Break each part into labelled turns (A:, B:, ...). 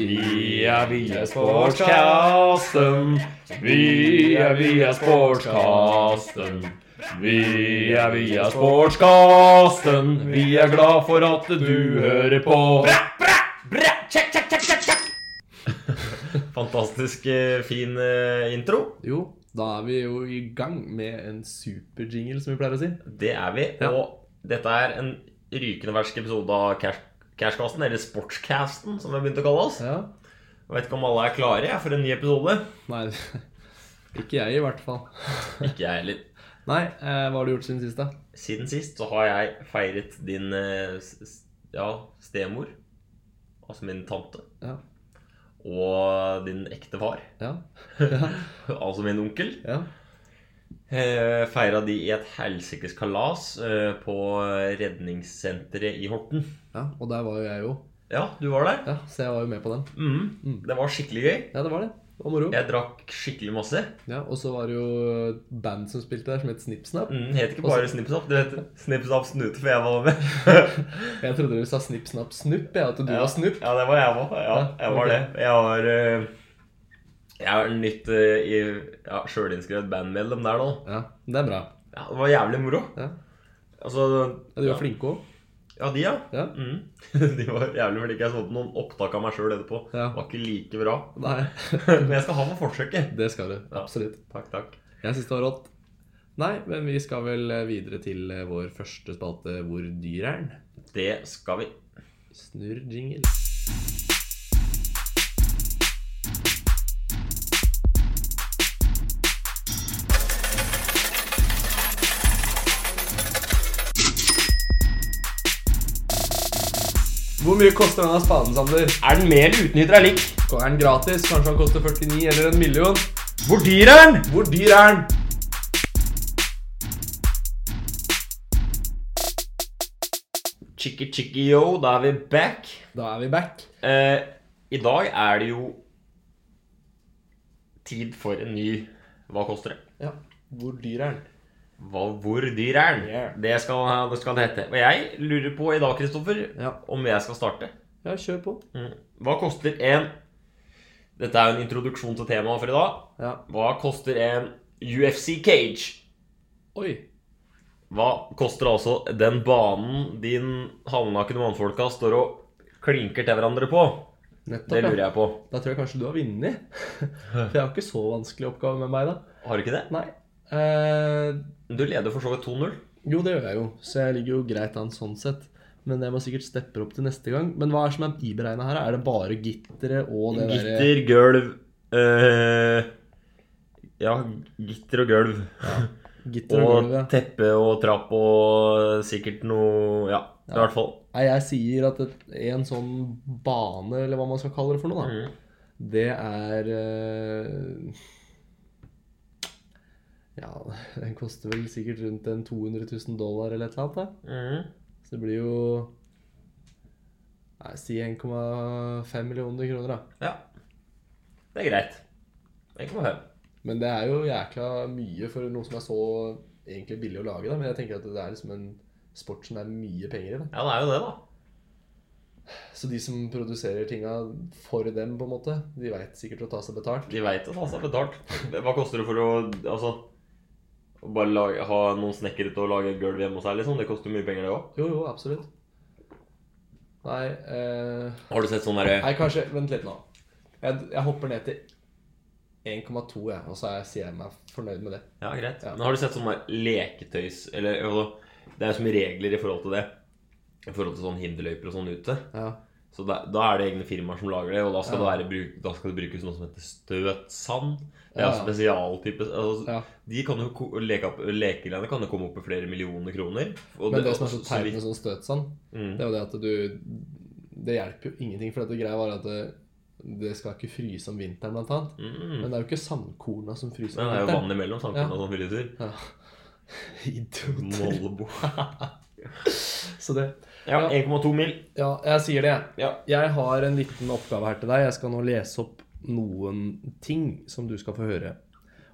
A: Vi er via sportskasten. Vi er via sportskasten. Vi er via sportskasten. Vi er glad for at du hører på.
B: Fantastisk eh, fin eh, intro.
A: Jo, da er vi jo i gang med en superjingle, som vi pleier å si.
B: Det er vi.
A: Ja.
B: Og dette er en rykende fersk episode av Cash Cashcasten, eller Sportscasten, som vi har begynt å kalle oss.
A: Ja.
B: Jeg vet ikke om alle er klare jeg, for en ny episode.
A: Nei, ikke jeg i hvert fall.
B: Ikke jeg heller.
A: Nei, eh, hva har du gjort siden sist, da?
B: Siden sist så har jeg feiret din eh, s- s- ja, stemor, altså min tante,
A: Ja.
B: og din ekte far,
A: Ja. Ja.
B: altså min onkel.
A: ja.
B: Eh, Feira de i et helsikes kalas eh, på redningssenteret i Horten.
A: ja. Og der var jo jeg jo.
B: Ja, du var der.
A: Ja, Så jeg var jo med på den.
B: Mm. Det var skikkelig gøy.
A: Ja, det var det. Det var moro.
B: Jeg drakk skikkelig masse.
A: Ja, Og så var det jo et band som spilte der, som het Snipsnap.
B: Mm, het ikke
A: Og så-
B: bare Snippsapp. Det het Snippsapp Snute, for jeg var med.
A: Jeg trodde du sa Snipsnap Snupp, jeg. At du
B: Ja.
A: var Snupp.
B: Ja, det var jeg òg. Ja,
A: Ja,
B: jeg var
A: ok.
B: det. Jeg var eh, Jeg er nytt eh, i ja, sjølinnskrevet bandmedlem der nå.
A: Ja, men det er bra.
B: Ja, det var jævlig moro.
A: Ja.
B: Altså
A: Ja, du var
B: ja.
A: flinke òg.
B: Ja, de, ja.
A: Ja.
B: Mm. De var jævlig flinke. Jeg så på noen opptak av meg sjøl etterpå.
A: Ja.
B: Det var ikke like bra.
A: Nei,
B: Men jeg skal ha for forsøket.
A: det skal du.
B: Ja.
A: Absolutt.
B: Takk, takk.
A: Jeg syns det var rått. Nei, men vi skal vel videre til vår første spalte, Hvor dyr er den?
B: Det skal vi.
A: Snurr jingle. Hvor mye koster denne spaden, Sander?
B: Er den med eller uten hydraulikk?
A: Er den gratis? Kanskje han koster 49 eller en million?
B: Hvor dyr er den?
A: Hvor dyr er den?
B: Chicky chicky yo, da er vi back.
A: Da er vi back.
B: Eh, I dag er det jo tid for en ny Hva koster det?
A: Ja. Hvor dyr er den?
B: Hva, hvor dyr er den?
A: Yeah.
B: Det, skal, det skal det hete. Og jeg lurer på i dag, Kristoffer,
A: Ja.
B: om jeg skal starte.
A: Ja, kjør på.
B: Hva koster en Dette er jo en introduksjon til temaet for i dag.
A: Ja.
B: Hva koster en UFC cage?
A: Oi.
B: Hva koster altså den banen din halvnakne mannfolka står og klinker til hverandre på?
A: Nettopp,
B: Det lurer jeg på.
A: Da tror jeg kanskje du har vunnet. For jeg har ikke så vanskelig oppgave med meg, da.
B: Har du ikke det?
A: Nei. Eh,
B: Du leder for så vidt 2-0.
A: jo, det gjør jeg jo, så jeg ligger jo greit an sånn sett. Men jeg må sikkert steppe opp til neste gang. Men hva er som er iberegna her? Er det bare gitteret og det derre
B: Gitter, gulv eh, Ja, gitter og gulv.
A: gitter og
B: Og
A: gulvet?
B: teppe og trapp og sikkert noe Ja, i hvert fall.
A: Nei, jeg sier at et, en sånn bane, eller hva man skal kalle det for noe,
B: Mm.
A: da, det er eh, Ja, den koster vel sikkert rundt en 200 000 dollar eller et eller annet. da.
B: Mhm.
A: Så det blir jo Nei, si 1,5 millioner kroner, da.
B: Ja. Det er greit. 1,5.
A: Men det er jo jækla mye for noe som er så egentlig billig å lage, da. Men jeg tenker at det er liksom en sport som det er mye penger i. da.
B: Ja, det er jo det, da.
A: Så de som produserer tinga for dem, på en måte, de veit sikkert å ta seg betalt.
B: De veit at han har betalt. Hva koster det for å Altså å bare lage, ha noen snekkere til å lage et gulv hjemme hos deg, liksom? Det koster mye penger, det òg.
A: Jo, jo, absolutt. Nei eh,
B: Har du sett sånn derre
A: Nei, kanskje Vent litt nå. Jeg, jeg hopper ned til 1,2, jeg, og så er, sier jeg meg fornøyd med det.
B: Ja, greit.
A: Ja.
B: Men har du sett sånn der leketøys Eller altså, det er jo så mye regler i forhold til det. I forhold til sånn hinderløyper og sånn ute.
A: Ja.
B: Så da, da er det egne firmaer som lager det, og da skal,
A: Ja.
B: det, være, bruk- da skal det brukes noe som heter støtsand. Det er
A: Ja.
B: ja. spesialtype altså,
A: Ja.
B: De kan jo ko- leke opp, lekegreiene kan jo komme opp i flere millioner kroner. og
A: Men det som er så
B: og-
A: teit
B: vidt-
A: med sånn støtsand,
B: Mm.
A: det er jo det at du Det hjelper jo ingenting, for dette greia var at det, det skal ikke fryse om vinteren, blant annet.
B: Mm.
A: Men det er jo ikke sandkorna som fryser
B: Nei,
A: om
B: det er jo
A: vinteren.
B: vann imellom samfunnet
A: Ja.
B: og sånn fryser.
A: Ja. Idioter.
B: Molbo.
A: Så det
B: ja,
A: Ja.
B: 1,2 mil.
A: Ja, jeg sier det, jeg.
B: Ja.
A: Jeg har en liten oppgave her til deg. Jeg skal nå lese opp noen ting som du skal få høre.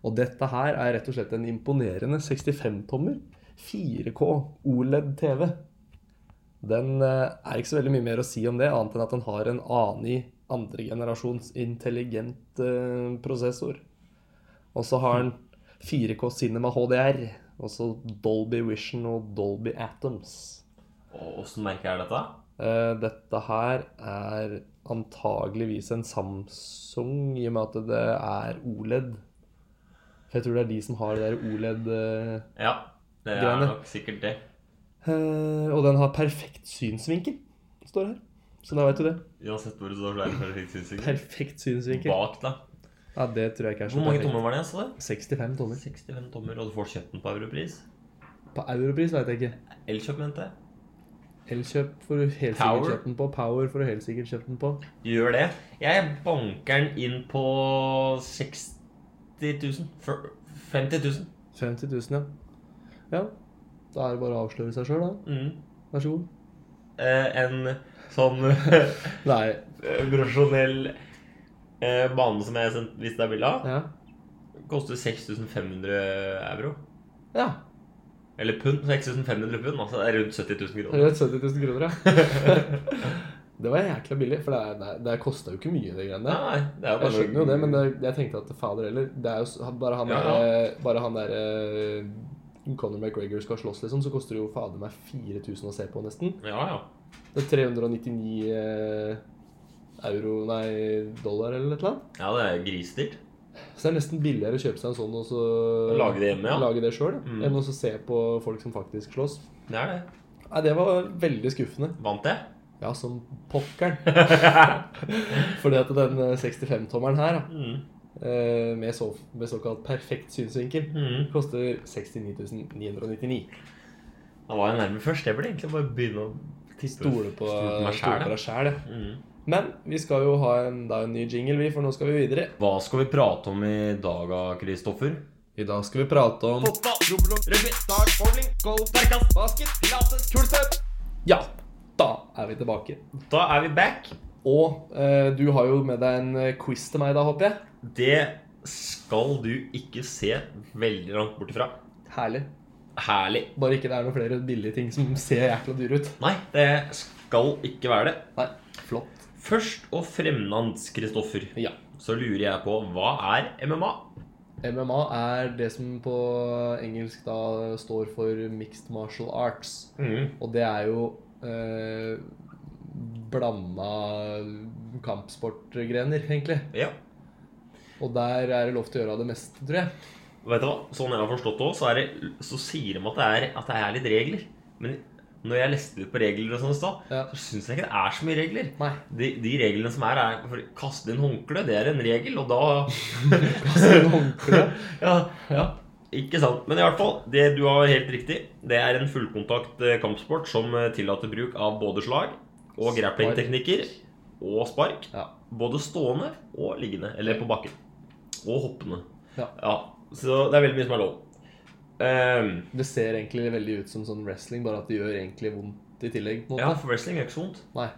A: Og dette her er rett og slett en imponerende 65-tommer. 4K E OLED-TV. Den eh, er ikke så veldig mye mer å si om det, annet enn at den har en annen i andregenerasjons intelligent eh, prosessor. Og så har den 4K Cinema HDR. Og så Dolby Vision og Dolby Atoms.
B: Og åssen merker jeg dette?
A: Eh, dette her er antageligvis en Samsung, i og med at det er OLED. For jeg tror det er de som har det der OLED eh,
B: Ja, det er
A: Greiene.
B: nok sikkert det.
A: eh, Og den har perfekt synsvinkel, står det her. Så da vet du det.
B: Uansett hvor det står, så er det perfekt synsvinkel.
A: Perfekt synsvinkel.
B: Bak, da.
A: Ja, det tror jeg ikke er så
B: Hvor mange
A: perfekt.
B: tommer var det? sa du?
A: 65 tommer.
B: 65 tommer. Og du får kjøpt den på europris?
A: På europris vet jeg ikke.
B: Elkjøp, mente jeg.
A: Elkjøp får du helt
B: Power?
A: sikkert kjøpt den på. Power får du helt sikkert kjøpt den på.
B: Gjør det. Jeg banker den inn på 60 000. For- 50 000.
A: 50 000, ja. Ja. Da er det bare å avsløre seg sjøl, da.
B: Mm.
A: Vær så god.
B: Eh, en sånn
A: Nei.
B: eh, profesjonell eh, bane som jeg sendte- viste deg bilde av,
A: Ja.
B: koster 6500 euro.
A: ja.
B: Eller pund. 6500 pund, altså. Det er rundt 70 000
A: Det er
B: kroner.
A: rundt 70 000 kroner, ja. det var jækla billig, for det, er- det, er- det kosta jo ikke mye, de greiene der.
B: Nei, det er jo
A: Jeg
B: bare
A: skjønner jo det, men det, jeg tenkte at fader heller Det er jo s- bare han
B: Ja,
A: der, bare han der eh, Conor McGregor skal slåss, liksom, så koster det jo fader meg 4000 å se på, nesten.
B: Ja, ja.
A: Det er 399 eh, euro, nei, dollar eller et eller annet.
B: Ja, det er grisdyrt.
A: Så det er nesten billigere å kjøpe seg en sånn og så
B: Lage det hjemme, ja.
A: lage det sjøl,
B: Mm.
A: enn å så se på folk som faktisk slåss.
B: Det er det.
A: Nei, det var veldig skuffende.
B: Vant jeg?
A: Ja, som pokkeren. Fordi at den eh, 65-tommeren her, da,
B: Mm.
A: eh, med, så, med såkalt perfekt synsvinkel,
B: Mm.
A: koster 69 999.
B: Da var jeg nærme først. Jeg burde egentlig bare begynne å tippe.
A: Stole på
B: Stole på meg
A: stole på
B: selv,
A: deg sjæl, ja.
B: Mm.
A: Men vi skal jo ha en, det er jo en ny jingle, vi, for nå skal vi videre.
B: Hva skal vi prate om i dag, Kristoffer?
A: I dag skal vi prate om Ja, da er vi tilbake.
B: Da er vi back.
A: Og eh, du har jo med deg en eh, quiz til meg da, håper jeg.
B: Det skal du ikke se veldig langt bort ifra.
A: Herlig.
B: Herlig.
A: Bare ikke det er noen flere billige ting som ser jækla dyre ut.
B: Nei, det skal ikke være det.
A: Nei, flott.
B: Først og fremst, Kristoffer,
A: Ja.
B: så lurer jeg på hva er MMA?
A: MMA er det som på engelsk da står for Mixed Martial Arts.
B: Mm.
A: Og det er jo eh, blanda kampsportgrener, egentlig.
B: Ja.
A: Og der er det lov til å gjøre av det meste, tror jeg.
B: Vet du hva? Sånn jeg har forstått det òg, så, er det- så sier de at det, er, at det er litt regler. Men når jeg leste litt på regler, og sånn i stad,
A: Ja.
B: så syns jeg ikke det er så mye regler.
A: Nei.
B: De, de reglene som er, er for å kaste inn håndkle, det er en regel, og da ja, ja, ikke sant. Men i hvert fall, det du har helt riktig, det er en fullkontakt eh, kampsport som eh, tillater bruk av både slag og grapplingteknikker og spark.
A: Ja.
B: Både stående og liggende, eller på bakken. Og hoppende.
A: Ja.
B: Så det er veldig mye som er lov. Ehm,
A: Det ser egentlig veldig ut som sånn wrestling, bare at det gjør egentlig vondt i tillegg. På en
B: ja,
A: måte.
B: for wrestling er ikke så vondt.
A: Nei.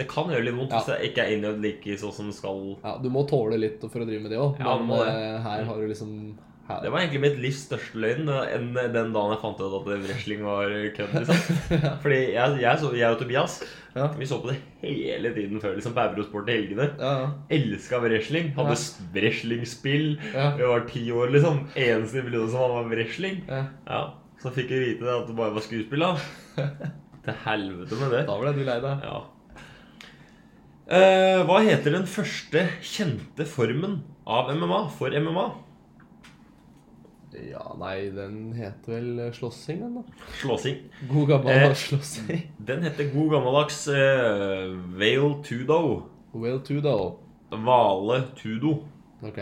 B: Det kan gjøre litt vondt
A: Ja.
B: hvis det ikke er innøvd like sånn som det skal
A: Ja, du må tåle litt for å drive med det òg,
B: Ja, du
A: men
B: må det.
A: eh, her har du liksom her.
B: Det var egentlig mitt livs største løgn eh, enn den dagen jeg fant ut at wrestling var kødd. liksom. Fordi jeg, jeg, så, jeg og Tobias
A: Ja.
B: vi så på det hele tiden før liksom, på Eurosport i helgene.
A: Ja, ja.
B: Elska wrestling.
A: Ja.
B: Hadde s- wrestlingspill.
A: Ja.
B: Vi var ti år, liksom. Eneste vi brydde oss om, var wrestling.
A: Ja.
B: Ja, Så fikk vi vite at det bare var skuespill, da. Til helvete med det.
A: Da ble du lei deg.
B: Ja. Eh, hva heter den første kjente formen av MMA for MMA?
A: Ja, nei, den heter vel eh, slåssing, den, da.
B: Slåsing.
A: God gammel
B: Eh.
A: slåssing.
B: Den heter god gammeldags eh, Vale Tudo.
A: Well to, da.
B: Hvale Tudo.
A: Ok.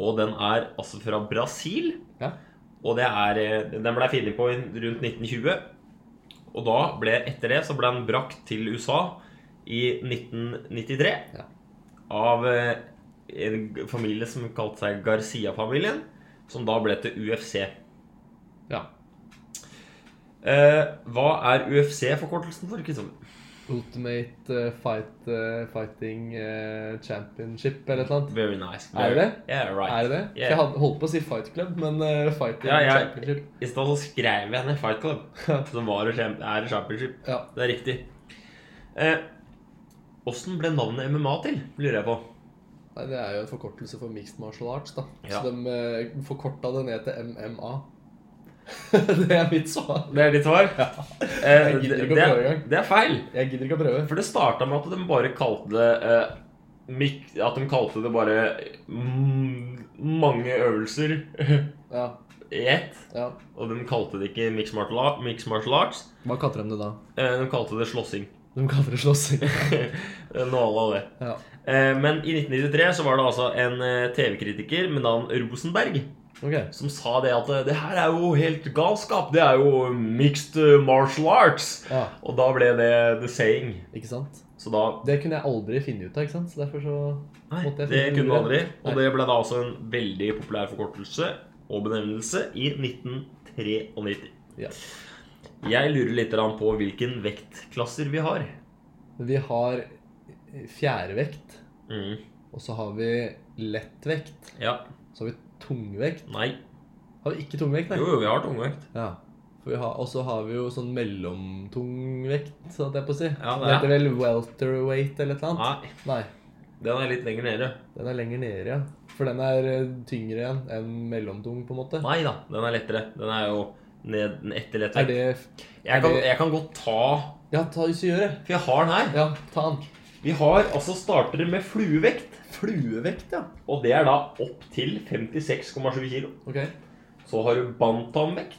B: Og den er altså fra Brasil.
A: Ja.
B: Og det er, eh, den ble funnet på i- rundt 1920. Og da ble, etter det så ble den brakt til USA i 1993
A: Ja.
B: av eh, en g- familie som kalte seg Garcia-familien, som da ble til UFC.
A: Ja.
B: Eh, hva er UFC-forkortelsen for, Kristoffer?
A: Ultimate eh, fight, eh, fighting eh, championship, eller et eller annet.
B: Very nice.
A: Er det det?
B: Yeah, right.
A: Er det det?
B: Yeah.
A: Jeg hadde holdt på å si Fight Club, men eh, Fighting
B: Ja, jeg-
A: Championship.
B: I stedet så skrev jeg ned Fight Club, som var og champ- er championship.
A: Ja.
B: Det er riktig. Eh, Åssen ble navnet MMA til, lurer jeg på.
A: Nei, Det er jo en forkortelse for mixed martial arts. da
B: Ja.
A: Så de eh, forkorta det ned til MMA. det er mitt svar.
B: Det er ditt svar?
A: Jeg
B: Eh,
A: gidder
B: det,
A: ikke å
B: det,
A: prøve
B: er,
A: engang.
B: det er feil.
A: Jeg gidder ikke å prøve.
B: For det starta med at de bare kalte det eh, mik At de kalte det bare mm, mange øvelser
A: Ja,
B: i ett.
A: ja.
B: Og de kalte det ikke mixed martial, ar- mixed martial arts.
A: Hva kaller de det da?
B: Eh, de kalte det slåssing.
A: De kaller det slåssing.
B: Nå alle det.
A: Ja.
B: Eh, men i 1993 så var det altså en eh, TV-kritiker med navn Rosenberg
A: Ok.
B: som sa det at eh, det her er jo helt galskap. Det er jo mixed eh, martial arts.
A: Ja,
B: Og da ble det the saying.
A: ikke sant?
B: Så da
A: Det kunne jeg aldri finne ut av, ikke sant? Så derfor så
B: Nei,
A: måtte jeg
B: det
A: finne
B: kunne man aldri.
A: ordet.
B: Og
A: Nei.
B: det ble da altså en veldig populær forkortelse og benevnelse i 1993.
A: Ja.
B: Jeg lurer litt grann på hvilken vektklasser vi har.
A: Vi har fjærevekt,
B: Mm.
A: og så har vi lettvekt.
B: Ja.
A: Så har vi tungvekt.
B: Nei.
A: Har vi ikke tungvekt, nei?
B: Jo, jo, vi har tungvekt.
A: Ja. For vi har, og så har vi jo sånn mellomtungvekt, så hadde jeg på å si.
B: Ja, det
A: det
B: er-
A: heter vel welterweight eller et eller annet?
B: Nei,
A: Nei.
B: den er litt lenger nede.
A: Den er lenger nede, ja. For den er eh, tyngre igjen enn mellomtung, på en måte.
B: Nei da, den er lettere. Den er jo ned etter
A: Er
B: lettvekt.
A: det
B: Jeg kan, jeg kan godt ta
A: Ja, ta hvis du gjør det.
B: For jeg har den her.
A: Ja, ta den.
B: Vi har altså starter med fluevekt.
A: Fluevekt, ja.
B: Og det er da opp til 56,7 kilo.
A: Ok.
B: Så har du bantamvekt.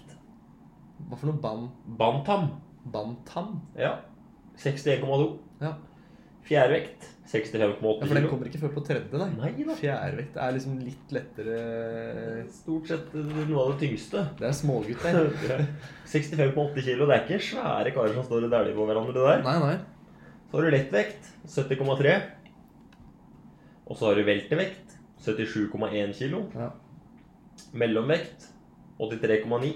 A: Hva for noe ban
B: Bantam.
A: bantam?
B: Ja. 61,2.
A: Ja.
B: Fjærvekt
A: ja,
B: 65,8
A: for den
B: kilo.
A: kommer ikke før på tredje, nei.
B: Nei da.
A: Fjærvekt er liksom litt lettere
B: Eh, Stort sett noe av det tyngste.
A: Det er smågutter.
B: Ja. 65,8 kilo. Det er ikke svære karer som står og dæljer på hverandre der.
A: Nei, nei.
B: Så har du lettvekt 70,3. Og så har du veltevekt 77,1 kilo.
A: Ja.
B: Mellomvekt 83,9.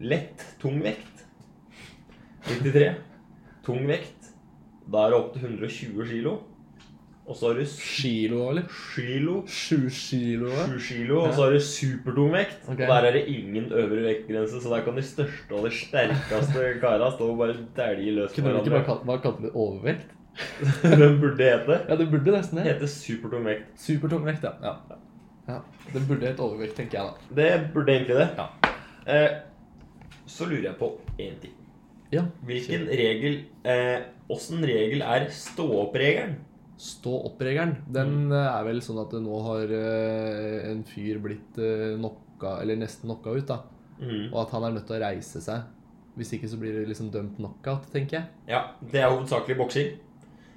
B: Lett tungvekt 93. Tungvekt da er det opp til 120 kilo. Og så har du
A: Kilo, eller?
B: kilo
A: Sju kilo? ja.
B: 7 kilo, og så har du supertungvekt.
A: Ok.
B: Og der er det ingen øvre vektgrense, så der kan de største og de sterkeste kara stå og bare dælje løs på
A: Kunne du ikke bare
B: hverandre.
A: kalt, hva kalte du det? Overvekt?
B: Den burde hete
A: Ja, det burde nesten det.
B: hete supertungvekt.
A: Supertungvekt, ja. ja. ja. Det burde hett overvekt, tenker jeg da.
B: Det burde egentlig det. Eh, så lurer jeg på én ting.
A: Ja.
B: Hvilken regel eh, Åssen regel er stå-opp-regelen?
A: Stå opp-regelen, den eh, er vel sånn at det nå har eh, en fyr blitt eh, knocka, eller nesten knocka ut, da.
B: Mhm.
A: Og at han er nødt til å reise seg. Hvis ikke så blir det liksom dømt knockout, tenker jeg.
B: Ja, det er hovedsakelig boksing.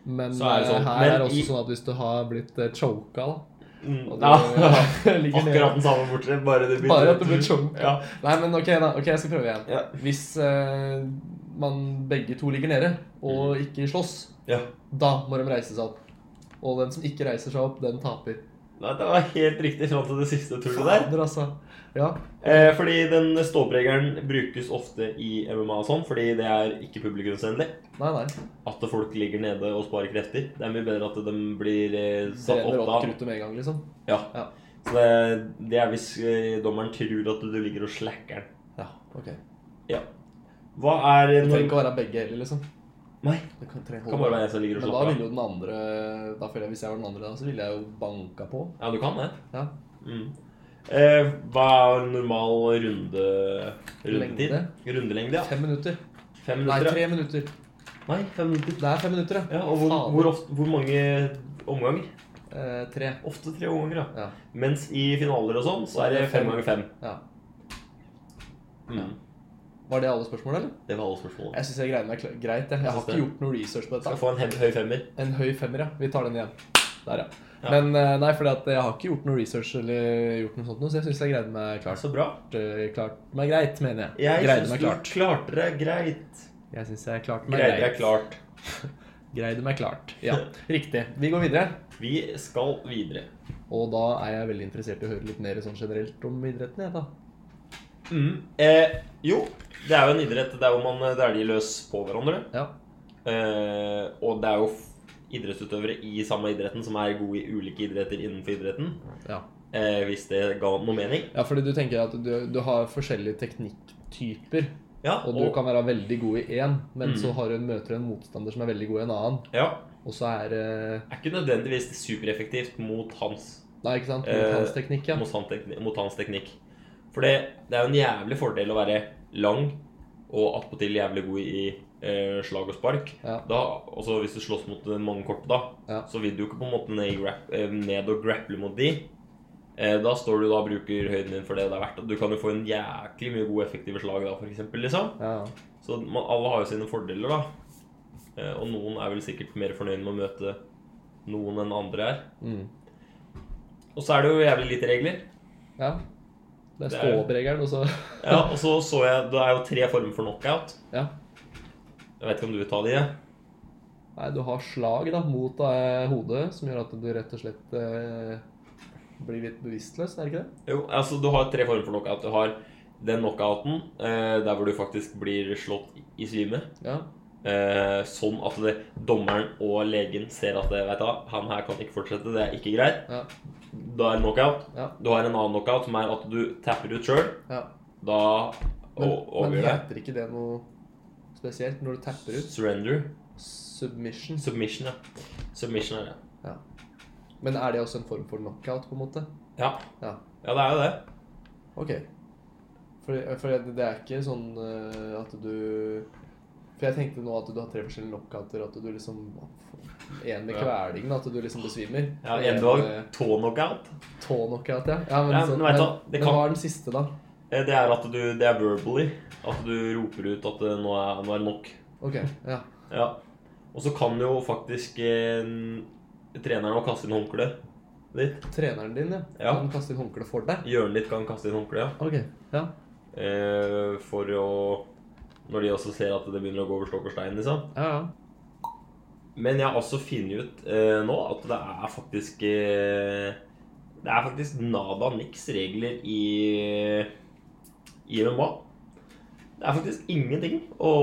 A: Men
B: Så er det
A: eh,
B: sånn.
A: her
B: Men
A: er det også
B: i-
A: sånn at hvis du har blitt eh, choka, da
B: Mm,
A: og du,
B: ja.
A: ligger nede-
B: Akkurat den samme, bortsett bare det blir
A: Bare at det blir chonka.
B: Ja.
A: Nei, men ok, da. Ok, Jeg skal prøve igjen.
B: Ja.
A: Hvis eh, man begge to ligger nede
B: Mm.
A: og ikke slåss,
B: ja.
A: da må de reise seg opp. Og den som ikke reiser seg opp, den taper.
B: Nei, det var helt riktig fram til det siste tullet der.
A: Fader, altså. Ja.
B: Eh, fordi den ståoppregelen brukes ofte i MMA og sånn, fordi det er ikke publikumsvennlig.
A: Nei, nei.
B: At folk ligger nede og sparer krefter. Det er mye bedre at de blir eh, satt
A: Brenner
B: opp
A: opp
B: da.
A: kruttet med en gang, liksom.
B: Ja.
A: Ja.
B: Så det, det er hvis eh, dommeren tror at du ligger og slacker den.
A: Ja, ok.
B: Hva er
A: Det
B: en
A: trenger ikke å være begge heller, liksom.
B: Nei,
A: Det kan, trenger
B: det kan bare være en som ligger og
A: Men da
B: slapper
A: ville
B: av.
A: jo den andre da føler jeg, Hvis jeg var den andre da, så ville jeg jo banka på.
B: Ja, du kan det.
A: Ja.
B: Mm. Eh, hva er normal runde rundetid?
A: Lengde.
B: Rundelengde, ja.
A: Fem minutter.
B: Fem
A: Nei,
B: minutter. ja.
A: tre minutter.
B: Nei, fem minutter.
A: Det er fem minutter,
B: Ja, og hvor,
A: Fader.
B: hvor, ofte, hvor mange omganger?
A: Eh, tre.
B: Ofte tre omganger, ja.
A: Ja.
B: Mens i finaler og sånn, så er det fem ganger fem.
A: ja.
B: Mm.
A: Var det alle spørsmålene, eller?
B: Det var alle spørsmålene.
A: Jeg syns jeg greide meg kl- greit. Jeg, jeg har
B: synes det.
A: ikke gjort noe research på
B: Skal
A: dette.
B: få en hem- høy femmer.
A: En høy femmer, ja. Vi tar den igjen. Der, ja.
B: Ja.
A: Men eh, nei, fordi at jeg har ikke gjort noe research eller gjort noe sånt noe, så jeg syns jeg greide meg klart.
B: Så bra.
A: eh, klart meg greit, mener jeg.
B: Jeg
A: greide
B: syns
A: meg
B: du
A: klart.
B: klarte deg greit.
A: Jeg syns jeg klarte meg
B: Greide deg
A: greit.
B: klart.
A: Greide meg klart. Ja, riktig. Vi går videre.
B: Vi skal videre.
A: Og da er jeg veldig interessert i å høre litt mer sånn generelt om idretten. Jeg, da.
B: Mm. Eh, jo, det er jo en idrett der hvor man eh, dæljer løs på hverandre.
A: Ja.
B: Eh, og det er jo f- idrettsutøvere i samme idretten som er gode i ulike idretter innenfor idretten.
A: Ja.
B: Eh, hvis det ga noe mening.
A: ja, fordi du tenker at du, du har forskjellige teknikktyper.
B: Ja,
A: Og du kan være veldig god i én, men
B: Mm.
A: så har du, møter du en motstander som er veldig god i en annen.
B: Ja,
A: Og så er det
B: Er ikke nødvendigvis supereffektivt mot hans
A: Nei, ikke sant?
B: Eh,
A: Montansteknikk, ja.
B: mot, han tekni- mot hans teknikk. For det, det er jo en jævlig fordel å være lang og attpåtil jævlig god i eh, slag og spark.
A: Ja.
B: Da, også hvis du slåss mot mange kort, da,
A: Ja.
B: så vil du ikke på en måte ned, i grap- eh, ned og grapple mot de. Eh, da står du da og bruker høyden din for det det er verdt. Og du kan jo få en jæklig mye gode effektive slag da, for eksempel, liksom.
A: ja.
B: Så man, alle har jo sine fordeler, da. Eh, og noen er vel sikkert mer fornøyd med å møte noen enn andre er.
A: Mm.
B: Og så er det jo jævlig lite regler.
A: ja. Det er
B: Det er-
A: stå-opp-regelen, og så
B: Ja, og så så jeg Det er jo tre former for knockout.
A: Ja.
B: Jeg vet ikke om du vil ta de? ja?
A: Nei, du har slag da, mot eh, hodet, som gjør at du rett og slett eh, blir litt bevisstløs, er det ikke det?
B: Jo, altså Du har tre former for knockout. Du har den knockouten eh, der hvor du faktisk blir slått i svime.
A: Ja.
B: Eh, sånn at det, dommeren og legen ser at det, vet du, hva, han her kan ikke fortsette. Det er ikke greit.
A: Ja.
B: Da er det knockout.
A: Ja.
B: Du har en annen knockout som er at du tapper ut sjøl.
A: ja.
B: Da
A: Men,
B: og-
A: men
B: overgjør det.
A: heter ikke det noe spesielt når du tapper ut?
B: Surrender.
A: Submission.
B: Submission, ja. Submission er det.
A: Ja. Men er det også en form for knockout, på en måte?
B: Ja.
A: Ja.
B: ja, det er jo det.
A: Ok. For, for det det er ikke sånn eh, at du For jeg tenkte nå at du har tre forskjellige knockouter, at du liksom En med
B: Ja.
A: kvelingen, at du liksom besvimer.
B: Ja,
A: Og
B: en dag
A: med
B: tå-knockout.
A: Tå-knockout, ja. ja. Men,
B: Ja,
A: sånn-
B: men
A: men,
B: vet du hva, det
A: men
B: kan-
A: hva er den siste, da?
B: Eh, Det er at du, det er verbally. At du roper ut at eh, nå er, nå er det nok.
A: Ok, ja.
B: Ja. Og så kan jo faktisk eh, treneren også kaste inn håndkleet ditt.
A: Treneren din, ja.
B: Ja.
A: Han kaster inn håndkle for deg.
B: Hjørnet ditt kan kaste inn håndkleet.
A: Ok, ja.
B: Ja. Eh, for å Når de også ser at det begynner å gå over stokk og stein, liksom.
A: Ja, ja.
B: Men jeg har også funnet ut eh, nå at det er faktisk eh, Det er faktisk nada niks regler i, i MMA. Det er faktisk ingenting å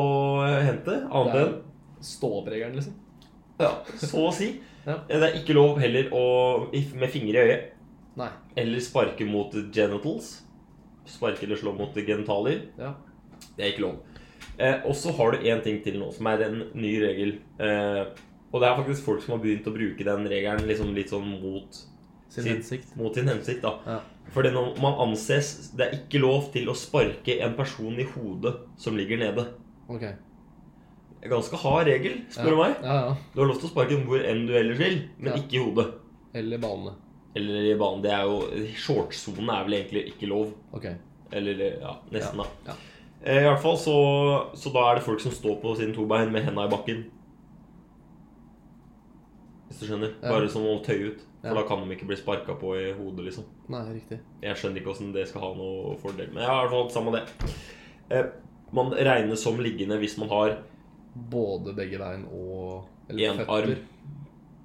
B: hente annet
A: Det er-
B: enn
A: Ståbregeren, liksom.
B: ja, så å si.
A: Ja.
B: Det er ikke lov heller å med fingre i øyet
A: Nei.
B: eller sparke mot genitals. Sparke eller slå mot genitaler.
A: Ja.
B: Det er ikke lov. Eh, og så har du én ting til nå, som er en ny regel. Eh, og det er faktisk folk som har begynt å bruke den regelen liksom litt sånn mot
A: Sin
B: Sin-
A: hensikt.
B: mot sin hensikt. da.
A: Ja.
B: For når man anses Det er ikke lov til å sparke en person i hodet som ligger nede.
A: Ok.
B: Ganske hard regel, spør du
A: ja.
B: meg.
A: Ja, ja.
B: Du har lov til å sparke den hvor enn du ellers vil, men
A: Ja.
B: ikke i hodet.
A: Eller banene.
B: Eller i banen. Det er jo Shortsonen er vel egentlig ikke lov.
A: Ok.
B: Eller ja, nesten, da.
A: ja.
B: Eh, I hvert fall så, så da er det folk som står på sine to bein med henda i bakken. Hvis du skjønner.
A: Ja.
B: Bare som å tøye ut. For
A: Ja.
B: da kan de ikke bli sparka på i hodet, liksom.
A: Nei, riktig.
B: Jeg skjønner ikke hvordan det skal ha noe fordel. Men jeg har i hvert fall samme det. Eh, man regnes som liggende hvis man har
A: Både begge bein og eller
B: én arm,
A: føtter.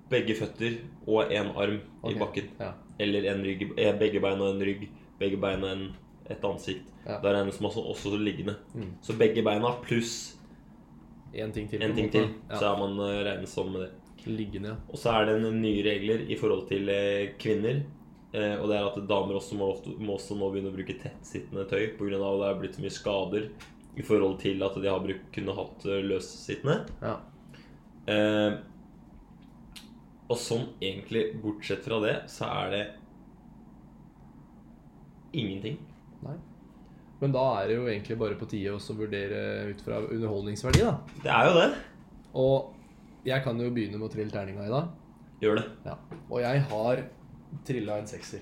B: begge føtter og én arm
A: Ok,
B: i bakken.
A: Ja.
B: Eller en rygg, eh, begge bein og en rygg. Begge bein og en, et ansikt.
A: Ja.
B: Da regnes man også, også liggende.
A: Mm.
B: Så begge beina pluss
A: En ting til. på
B: en ting
A: måte.
B: til, så
A: Ja.
B: er man eh, regnet som med det.
A: Liggende, ja.
B: Og så er det en nye regler i forhold til eh, kvinner. Eh, og det er at damer også må, ofte, må også nå begynne å bruke tettsittende tøy pga. at det er blitt så mye skader i forhold til at de har brukt, kunne hatt eh, løssittende.
A: ja.
B: Eh, og sånn egentlig, bortsett fra det, så er det ingenting.
A: Nei. Men da er det jo egentlig bare på tide også å vurdere ut fra underholdningsverdi, da.
B: Det er jo det.
A: Og jeg kan jo begynne med å trille terninga i dag.
B: Gjør det.
A: Ja. Og jeg har trilla en sekser.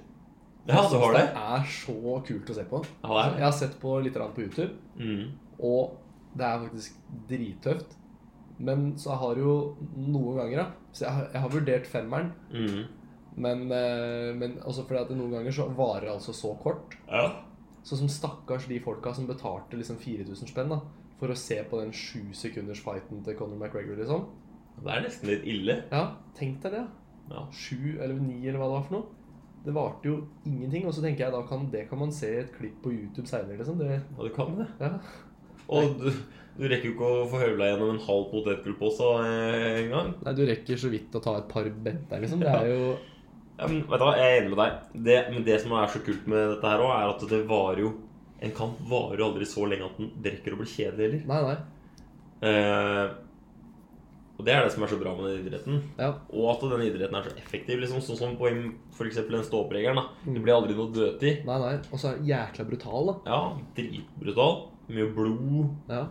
B: Ja, du har det.
A: Det er så kult å se på.
B: Ja, det er det.
A: Jeg har sett på litt grann på YouTube,
B: Mm.
A: og det er faktisk drittøft. Men så har jo noen ganger, da Så jeg har, jeg har vurdert femmeren.
B: Mm.
A: Men, eh, men også fordi at noen ganger så varer det altså så kort.
B: Ja.
A: Sånn som stakkars de folka som betalte liksom 4000 spenn da for å se på den sju sekunders fighten til Conor McGregor, liksom.
B: Det er nesten litt ille.
A: Ja, tenk deg det.
B: Ja.
A: Sju eller ni eller hva det var for noe. Det varte jo ingenting. Og så tenker jeg da kan, det kan man se i et klipp på YouTube seinere, liksom. Det,
B: Ja, du kan det.
A: ja.
B: Og du, du rekker jo ikke å få høvla gjennom en halv potetgullpose eh, en gang.
A: Nei, du rekker så vidt å ta et par benter, liksom. Det er jo
B: Ja, men vet du hva, Jeg er enig med deg. Det, men det som er så kult med dette her òg, er at det varer jo En kamp varer jo aldri så lenge at den drikker og blir kjedelig heller.
A: Nei, nei.
B: Eh, Og det er det som er så bra med den idretten.
A: Ja.
B: Og at den idretten er så effektiv. liksom Sånn som på en- for eksempel den ståoppregelen. da. Det blir aldri noe dødtid.
A: Nei, nei. Og så er den jækla brutal, da.
B: Ja, dritbrutal. Mye blod.
A: Ja.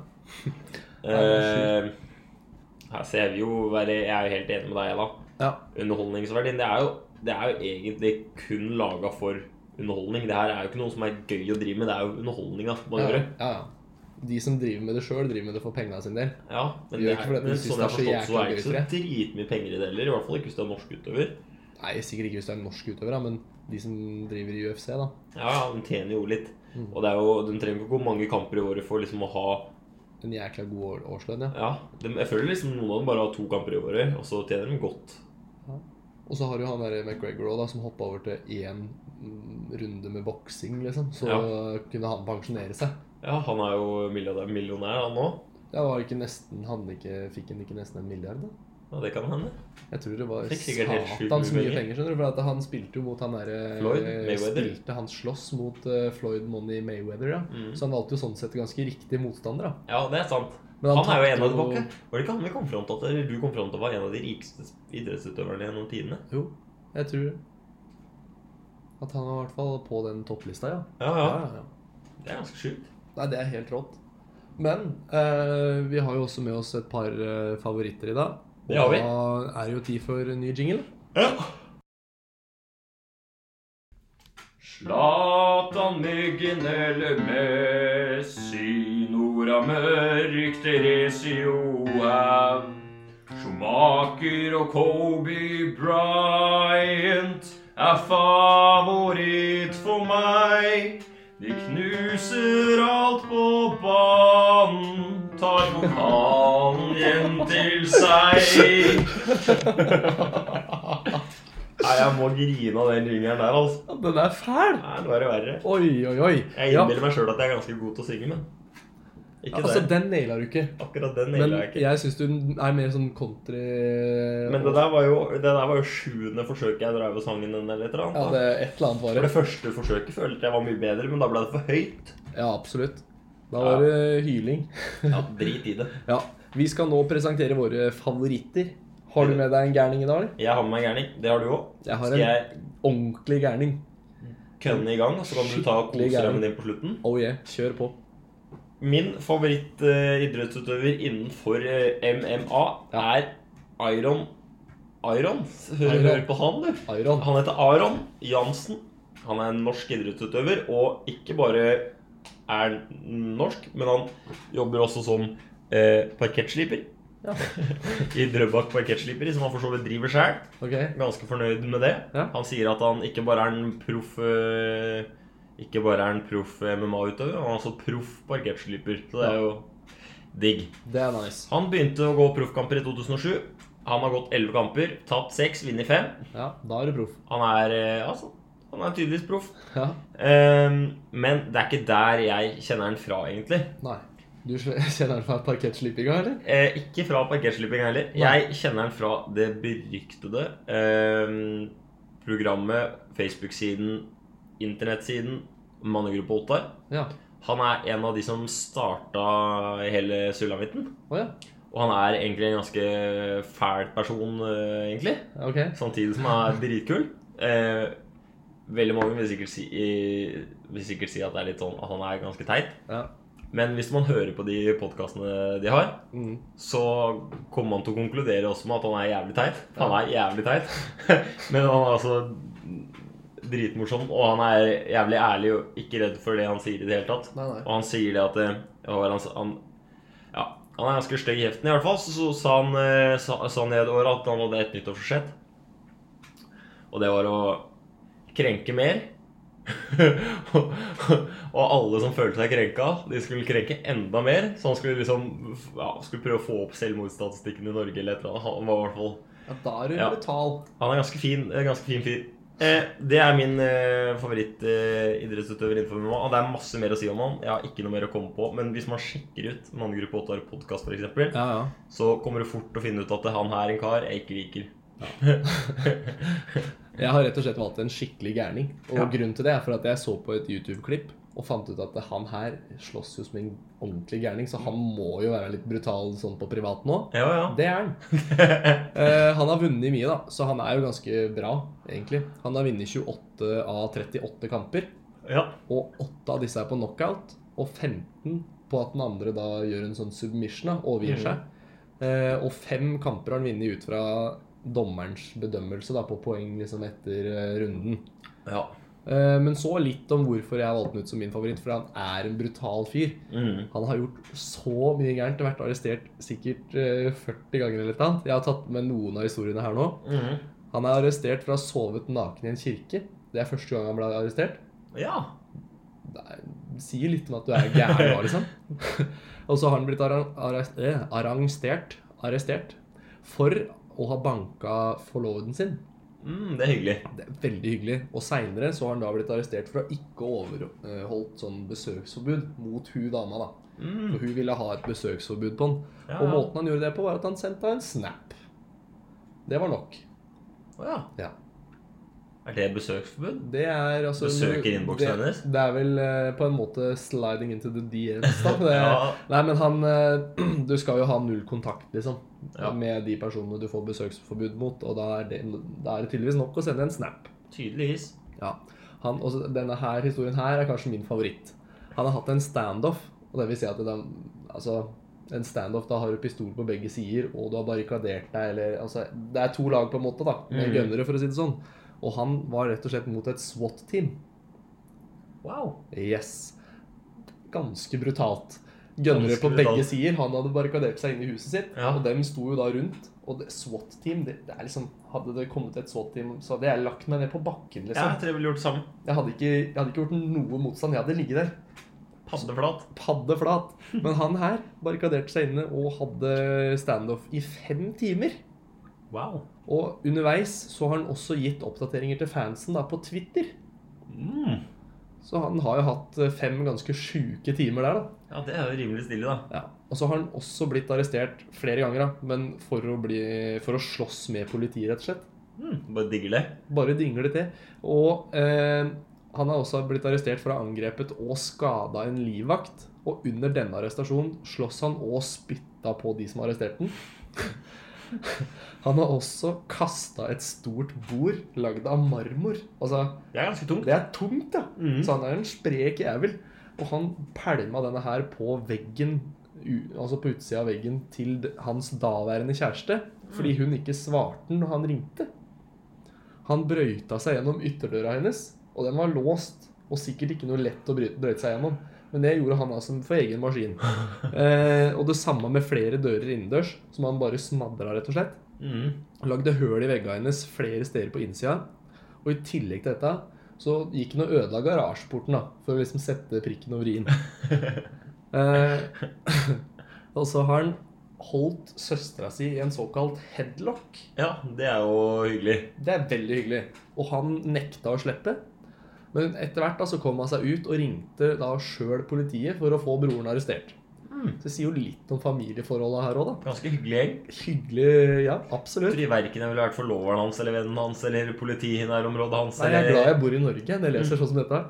B: Eh, her ser vi jo være, Jeg er jo helt enig med deg, da.
A: ja.
B: Underholdningsverdien, det er jo, det er jo egentlig kun laga for underholdning. Det her er jo ikke noe som er gøy å drive med, det er jo underholdninga man
A: ja,
B: gjør.
A: ja, ja. De som driver med det sjøl, driver med det for penga sin del.
B: Ja,
A: Gjør
B: men, det
A: ikke
B: er,
A: fordi at de
B: men
A: synes
B: sånn jeg
A: det
B: har
A: er så
B: forstått, så er
A: jækla
B: det
A: gøy,
B: ikke så dritmye penger i det heller. I hvert fall ikke hvis du er norsk utøver.
A: Nei, sikkert ikke hvis du er en norsk utøver, da, men de som driver i UFC, da.
B: Ja, ja, de tjener jo litt. Og det er jo, de trenger ikke gå mange kamper i året for liksom å ha
A: En jækla god år- årslønn, ja.
B: Ja, de, jeg føler liksom noen av dem bare har to kamper i året, og så tjener de godt.
A: Og så har du han der McGregor også, da, som hoppa over til én mm, runde med boksing, liksom. Så kunne han pensjonere seg.
B: Ja, han er jo milliardær, millionær, han òg.
A: Det var ikke nesten, han ikke, Fikk han ikke nesten en milliard, da?
B: Ja, det kan hende.
A: Jeg tror det var
B: Fikk sikkert helt sjukt
A: satans
B: mye
A: mye
B: penger.
A: penger, skjønner du. For at han spilte jo mot han derre
B: Floyd Mayweather.
A: Spilte han slåss mot eh, Floyd Money Mayweather, ja.
B: Mm.
A: Så han valgte jo sånn sett ganske riktig motstander, da.
B: Ja, det er sant.
A: Men
B: han, er jo en
A: tapte
B: av de bakke. Var det ikke han vi kom fram til at eller du kom fram til var en av de rikeste idrettsutøverne gjennom tidene?
A: Jo, jeg tror at han var i hvert fall på den topplista, ja.
B: Ja, ja.
A: ja.
B: Det er ganske sjukt.
A: Nei, det er helt rått. Men eh, vi har jo også med oss et par eh, favoritter i dag. Og
B: Det har vi.
A: da er det jo tid for ny jingle.
B: Ja.
C: Zlatan, Myggen eller Messi, Nora Mørk, Theresio Haug, Schumacher og Kobe Bryant er favoritt for meg. De knuser alt på banen, tar pokalen hjem til seg.
B: Nei, jeg må grine av den ringeren der, altså.
A: Ja, den er fæl!
B: Nei, nå er det verre.
A: Oi, oi, oi.
B: Jeg
A: Ja,
B: innbiller meg sjøl at jeg er ganske god til å synge, men ikke
A: altså,
B: det.
A: den naila du ikke.
B: Akkurat den
A: Men
B: nailer jeg ikke.
A: jeg syns du er mer sånn country
B: Men det der var jo det der var jo sjuende forsøket jeg drev og sang den eller et eller
A: Ja,
B: annet.
A: det
B: da.
A: er et eller annet
B: For
A: var
B: det første forsøket følte jeg var mye bedre, men da ble det for høyt.
A: det. Ja, absolutt. Da var det hyling.
B: Ja, Drit i det.
A: Ja. Vi skal nå presentere våre favoritter. Har du med deg en gærning i dag? eller?
B: Jeg har med meg gærning. Det har du òg.
A: Jeg har
B: Skal
A: en
B: jeg
A: ordentlig gærning.
B: kønne i gang, og så kan du ta
A: Skikkelig gærning.
B: koseremmen din på slutten?
A: Oh yeah, kjør på.
B: Min favorittidrettsutøver innenfor eh, MMA
A: Ja.
B: er Iron Iron? Hør,
A: Iron.
B: hør på han, du.
A: Iron.
B: Han heter Aron Jansen. Han er en norsk idrettsutøver, og ikke bare er norsk, men han jobber også som eh, parkettsliper.
A: Ja.
B: I Drøbak Parkettsliper, som han for så vidt driver sjøl.
A: Ok.
B: Ganske fornøyd med det.
A: Ja.
B: Han sier at han ikke bare er en proff eh, Ikke bare er en proff MMA-utøver, han er også proff parkettsliper. Så det er jo digg.
A: Det er nice.
B: Han begynte å gå proffkamper i 2007. Han har gått 11 kamper, tapt 6, vunnet 5.
A: Ja, da er du proff.
B: Han er eh, altså, han er tydeligvis proff.
A: Ja.
B: Ehm, men det er ikke der jeg kjenner han fra, egentlig.
A: Nei. Du sl- kjenner den fra parkettslippinga, eller?
B: Eh, ikke fra parkerslipping heller.
A: Nei.
B: Jeg kjenner han fra det beryktede ehm, programmet, Facebook-siden, internettsiden Mannegruppa Ottar.
A: Ja.
B: Han er en av de som starta hele sulamitten.
A: Å ja.
B: Og han er egentlig en ganske fæl person, eh, egentlig.
A: Ok.
B: Samtidig som han er dritkul. Eh, veldig mange vil sikkert, si, i- vil sikkert si at det er litt sånn at han er ganske teit.
A: Ja.
B: Men hvis man hører på de podkastene de har,
A: Mm.
B: så kommer man til å konkludere også med at han er jævlig teit. Han er jævlig teit. Men han er altså dritmorsom, og han er jævlig ærlig og ikke redd for det han sier i det hele tatt.
A: Nei, nei.
B: Og han sier det at eh, hva var det han, sa? han, ja, han er ganske stygg i kjeften, i hvert fall. Så, så sa han, eh, sa, sa han i et år at han hadde et nyttårsforsett. Og det var å krenke mer. og alle som følte seg krenka, de skulle krenke enda mer. Så han skulle liksom ja, skulle prøve å få opp selvmordsstatistikken i Norge. Eller et eller annet. Han var i hvert fall
A: Ja, da er du
B: Ja.
A: brutal.
B: han er ganske fin, eh, ganske fin fyr. Eh, det er min eh, favorittidrettsutøver innenfor MMA. Og det er masse mer å si om han. Jeg har ikke noe mer å komme på. Men hvis man sjekker ut Manngruppe 8 har podkast, f.eks.,
A: Ja, ja.
B: så kommer du fort til å finne ut at han her er en kar jeg ikke liker.
A: Jeg har rett og slett valgt en skikkelig gærning. Og grunnen til det er for at jeg så på et YouTube-klipp og fant ut at han her slåss jo som en ordentlig gærning, så han må jo være litt brutal sånn på privat nå.
B: Ja, ja.
A: Det er han. Eh, han har vunnet mye, da, så han er jo ganske bra, egentlig. Han har vunnet 28 av 38 kamper,
B: ja.
A: og 8 av disse er på knockout, og 15 på at den andre da gjør en sånn submission, da, overgir seg. Eh, og fem kamper har han vunnet ut fra dommerens bedømmelse da, på poeng liksom etter eh, runden.
B: ja.
A: Eh, men så litt om hvorfor jeg valgte han ut som min favoritt, for han er en brutal fyr.
B: Mm.
A: Han har gjort så mye gærent. Vært arrestert sikkert eh, 40 ganger eller noe. Jeg har tatt med noen av historiene her nå.
B: Mm.
A: Han er arrestert for å ha sovet naken i en kirke. Det er første gang han ble arrestert.
B: ja.
A: Det er- sier litt om at du er gæren nå, liksom. Og så har han blitt arra- arrest- eh, arrangstert arrestert for å ha banka forloveden sin.
B: Mm, det er hyggelig.
A: Det er veldig hyggelig. Og seinere har han da blitt arrestert for å ha ikke overholdt sånn besøksforbud mot hun dama, da.
B: Mm.
A: For hun ville ha et besøksforbud på han.
B: Ja,
A: Og måten han gjorde det på, var at han sendte henne en snap. Det var nok.
B: Å, ja.
A: Ja.
B: Er det besøksforbud?
A: Det er altså
B: Besøker innboksen
A: det-
B: hennes?
A: Det er vel eh, på en måte sliding into the DMs, da. Det,
B: Ja.
A: Nei, men han eh, Du skal jo ha null kontakt, liksom,
B: Ja.
A: med de personene du får besøksforbud mot, og da er det, da er det tydeligvis nok å sende en snap.
B: Tydeligvis.
A: Ja. Han, også, denne her historien her er kanskje min favoritt. Han har hatt en standoff, og det vil si at det, er- altså, en standoff, da har du pistol på begge sider, og du har barrikadert deg, eller altså, Det er to lag på en måte, da, med
B: Mhm.
A: gønnere, for å si det sånn. Og han var rett og slett mot et SWAT-team.
B: Wow.
A: Yes. Ganske brutalt. Gønnere
B: Ganske
A: på begge
B: brutalt.
A: sider. Han hadde barrikadert seg inn i huset sitt,
B: Ja.
A: og dem sto jo da rundt. Og det- SWAT-team det, det er liksom, Hadde det kommet et SWAT-team, så hadde jeg lagt meg ned på bakken,
B: Ja,
A: liksom.
B: jeg tror jeg ville gjort det samme.
A: Jeg hadde, ikke, jeg hadde ikke gjort noe motstand. Jeg hadde ligget der
B: Paddeflat.
A: padde flat. Men han her barrikaderte seg inne og hadde standoff i fem timer.
B: Wow.
A: Og underveis så har han også gitt oppdateringer til fansen da på Twitter.
B: Mm.
A: Så han har jo hatt eh, fem ganske sjuke timer der, da.
B: Ja, det er jo rimelig stille, da.
A: Ja. Og så har han også blitt arrestert flere ganger, da. Men for å, bli, for å slåss med politiet, rett og slett.
B: Mm. Bare digger det.
A: Bare dingler det til. Og eh, han har også blitt arrestert for å ha angrepet og skada en livvakt. Og under denne arrestasjonen slåss han og spytta på de som arresterte den. Han har også kasta et stort bord lagd av marmor. Altså,
B: Det er ganske tungt.
A: det er tungt, ja.
B: Mm.
A: Så han er en sprek jævel. Og han pælma denne her på veggen, u- altså på utsida av veggen, til d- hans daværende kjæreste. Fordi hun ikke svarte når han ringte. Han brøyta seg gjennom ytterdøra hennes, og den var låst. Og sikkert ikke noe lett å bry- brøyte seg gjennom. Men det gjorde han altså for egen maskin. Eh, og det samme med flere dører innendørs, som han bare smadra, rett og slett.
B: Mm.
A: Lagde høl i veggene hennes flere steder på innsida. Og i tillegg til dette så gikk han og ødela garasjeporten da, for å liksom sette prikken over i-en. eh, og så har han holdt søstera si i en såkalt headlock.
B: Ja, det er jo hyggelig.
A: Det er veldig hyggelig. Og han nekta å slippe. Men etter hvert da så kom han seg ut og ringte da sjøl politiet for å få broren arrestert.
B: Mm.
A: Så det sier jo litt om familieforholda her òg, da.
B: Ganske hyggelig gjeng.
A: Hyggelig, ja.
B: Jeg
A: Absolutt.
B: tror verken jeg ville vært forloveren hans eller vennen hans eller politiet i nærområdet hans.
A: Nei, jeg er
B: eller-
A: glad jeg bor i Norge. Det leser sånn som dette.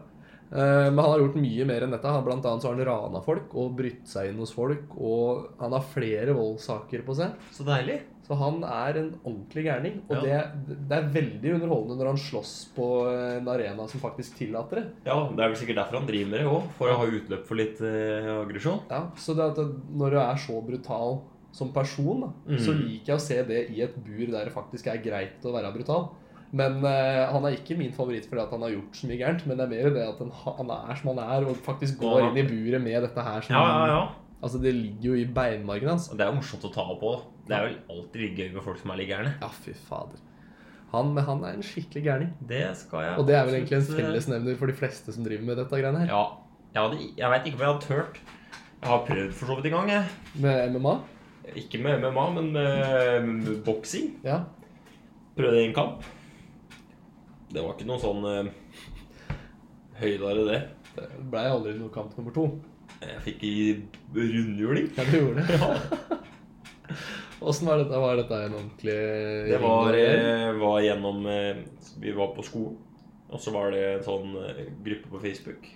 A: Eh, Men han har gjort mye mer enn dette. Han, blant annet så har han rana folk og brytt seg inn hos folk. Og han har flere voldssaker på seg.
B: Så deilig.
A: Så han er en ordentlig gærning. Og det, det er veldig underholdende når han slåss på en arena som faktisk tillater det.
B: Ja, Det er vel sikkert derfor han driver med det òg, for å ha utløp for litt eh, aggresjon.
A: Ja, så det at det- når du er så brutal som person, da,
B: Mm.
A: så liker jeg å se det i et bur der det faktisk er greit å være brutal. Men eh, han er ikke min favoritt fordi at han har gjort så mye gærent, men det er mer det at han, ha- han er som han er, og faktisk går
B: Ja.
A: inn i buret med dette her som
B: Ja, ja, ja.
A: Altså, det ligger jo i beinmargen hans.
B: Og Det er jo morsomt å ta på. da. Det er vel alltid gøy med folk som er litt gærne.
A: Ja, fy fader. Han, men han er en skikkelig gærning.
B: Det skal jeg
A: Og det er vel egentlig en
B: absolutt, eh,
A: fellesnevner for de fleste som driver med dette greiene her.
B: Ja. Jeg, hadde, jeg veit ikke om jeg hadde turt. Jeg har prøvd for så vidt en gang. jeg.
A: Med MMA.
B: Ikke med MMA, men med, med boksing.
A: Ja.
B: Prøvde en kamp. Det var ikke noe sånn eh, høydere, det.
A: Det blei aldri noe kamp nummer to.
B: Jeg fikk i rundhjuling.
A: Ja, det gjorde det. Åssen var dette? Var dette en ordentlig
B: Det var,
A: ring?
B: eh, var gjennom eh, Vi var på skolen, og så var det en sånn eh, gruppe på Facebook.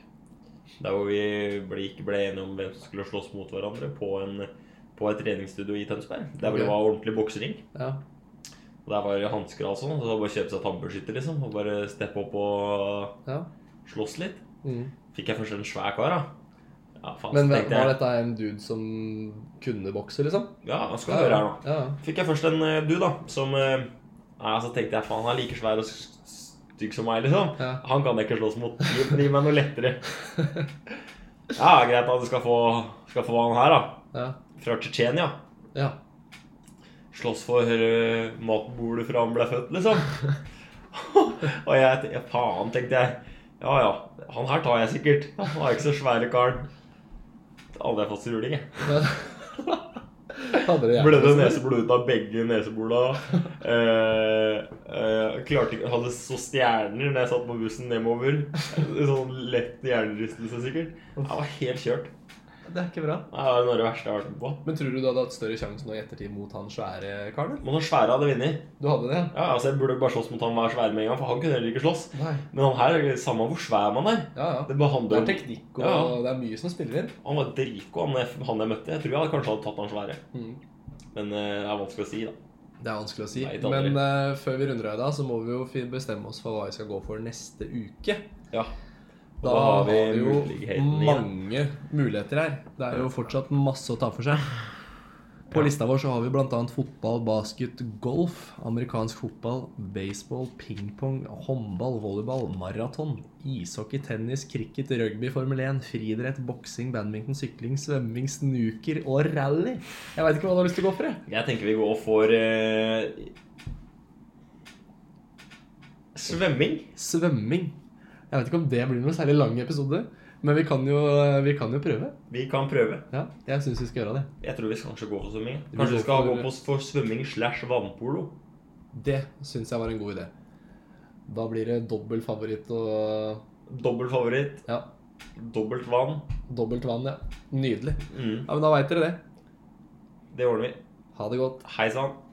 B: Der hvor vi ble, ikke ble enige om hvem som skulle slåss mot hverandre på, en, på et treningsstudio i Tønsberg. Der hvor det
A: Ok.
B: var ordentlig boksering.
A: Ja.
B: Og Der var det hansker og sånn. Så det var bare å kjøpe seg tannbørskytter liksom, og bare steppe opp og
A: ja.
B: slåss litt.
A: Mm.
B: Fikk jeg først en svær kar, da. Ja, faen,
A: Men
B: så
A: var
B: altså, tenkte jeg
A: dette en dude som kunne bokse, liksom?
B: Ja, nå skal du høre her nå.
A: Ja,
B: Fikk jeg først en eh, du, da, som eh, Nei, altså tenkte jeg faen, han er like svær og s- s- stygg som meg, liksom.
A: ja.
B: Han kan jeg ikke slåss mot. Gi, gi meg noe lettere. Ja, greit da, du skal få, skal få han her, da.
A: Ja.
B: Fra Tsjetsjenia.
A: ja. ja.
B: Slåss for eh, matbordet fra han ble født, liksom. og jeg te- ja, Faen, tenkte jeg. Ja ja, han her tar jeg sikkert. Han er ikke så svære karen. Aldri har jeg fått struling, jeg.
A: Men, hadde det
B: Blødde
A: hjertet,
B: neseblod ut av begge neseborene. Eh, eh, klarte ikke Hadde så stjerner når jeg satt på bussen nedover. Sånn lett hjernerystelse, sikkert. Jeg var helt kjørt.
A: liksom? Det er ikke bra.
B: Nei, Det var noe av det verste jeg har vært med på.
A: Men tror du du hadde hatt større sjanse nå i ettertid mot han svære karen? eller?
B: Men han svære hadde vunnet.
A: Du hadde det, ja?
B: Ja, altså, jeg burde bare slåss mot han hver svære med en gang, for han kunne heller ikke slåss.
A: Nei.
B: Men han her, samme hvor svær man er
A: Ja, ja.
B: det bare
A: Det er
B: handler om
A: teknikk, og
B: Ja.
A: det er mye som spiller inn.
B: Han var dritgod, han, jeg- han jeg møtte. Jeg tror jeg hadde kanskje hadde tatt han svære.
A: Mm.
B: Men eh, det er vanskelig å si, da.
A: Det er vanskelig å si.
B: Nei, det er
A: Men
B: aldri.
A: eh, før vi runder av i dag, så må vi jo fi- bestemme oss for hva vi skal gå for neste uke.
B: Ja. Og
A: Da, har vi, jo
B: muligheten igjen.
A: mange muligheter her. Det er jo fortsatt masse å ta for seg. På
B: Ja.
A: lista vår så har vi bl.a. fotball, basket, golf, amerikansk fotball, baseball, pingpong, håndball, volleyball, maraton, ishockey, tennis, cricket, rugby, Formel 1, friidrett, boksing, badminton, sykling, svømming, snooker og rally. Jeg veit ikke hva du har lyst til å gå for, jeg.
B: Jeg tenker vi går for eh, Svømming.
A: Svømming. Jeg vet ikke om det blir noen særlig lang episode, men vi kan jo, vi kan jo prøve.
B: Vi kan prøve.
A: Ja, jeg syns vi skal gjøre det.
B: Jeg tror vi skal kanskje gå for svømming.
A: Vi går
B: Kanskje vi skal
A: for-
B: gå på for svømming slash vannpolo.
A: Det syns jeg var en god idé. Da blir det dobbel favoritt og
B: Dobbelt favoritt,
A: ja,
B: dobbelt vann.
A: dobbelt vann, ja. Nydelig.
B: Mm,
A: Ja, men da veit dere det.
B: det ordner vi.
A: Ha det godt.
B: Hei sann.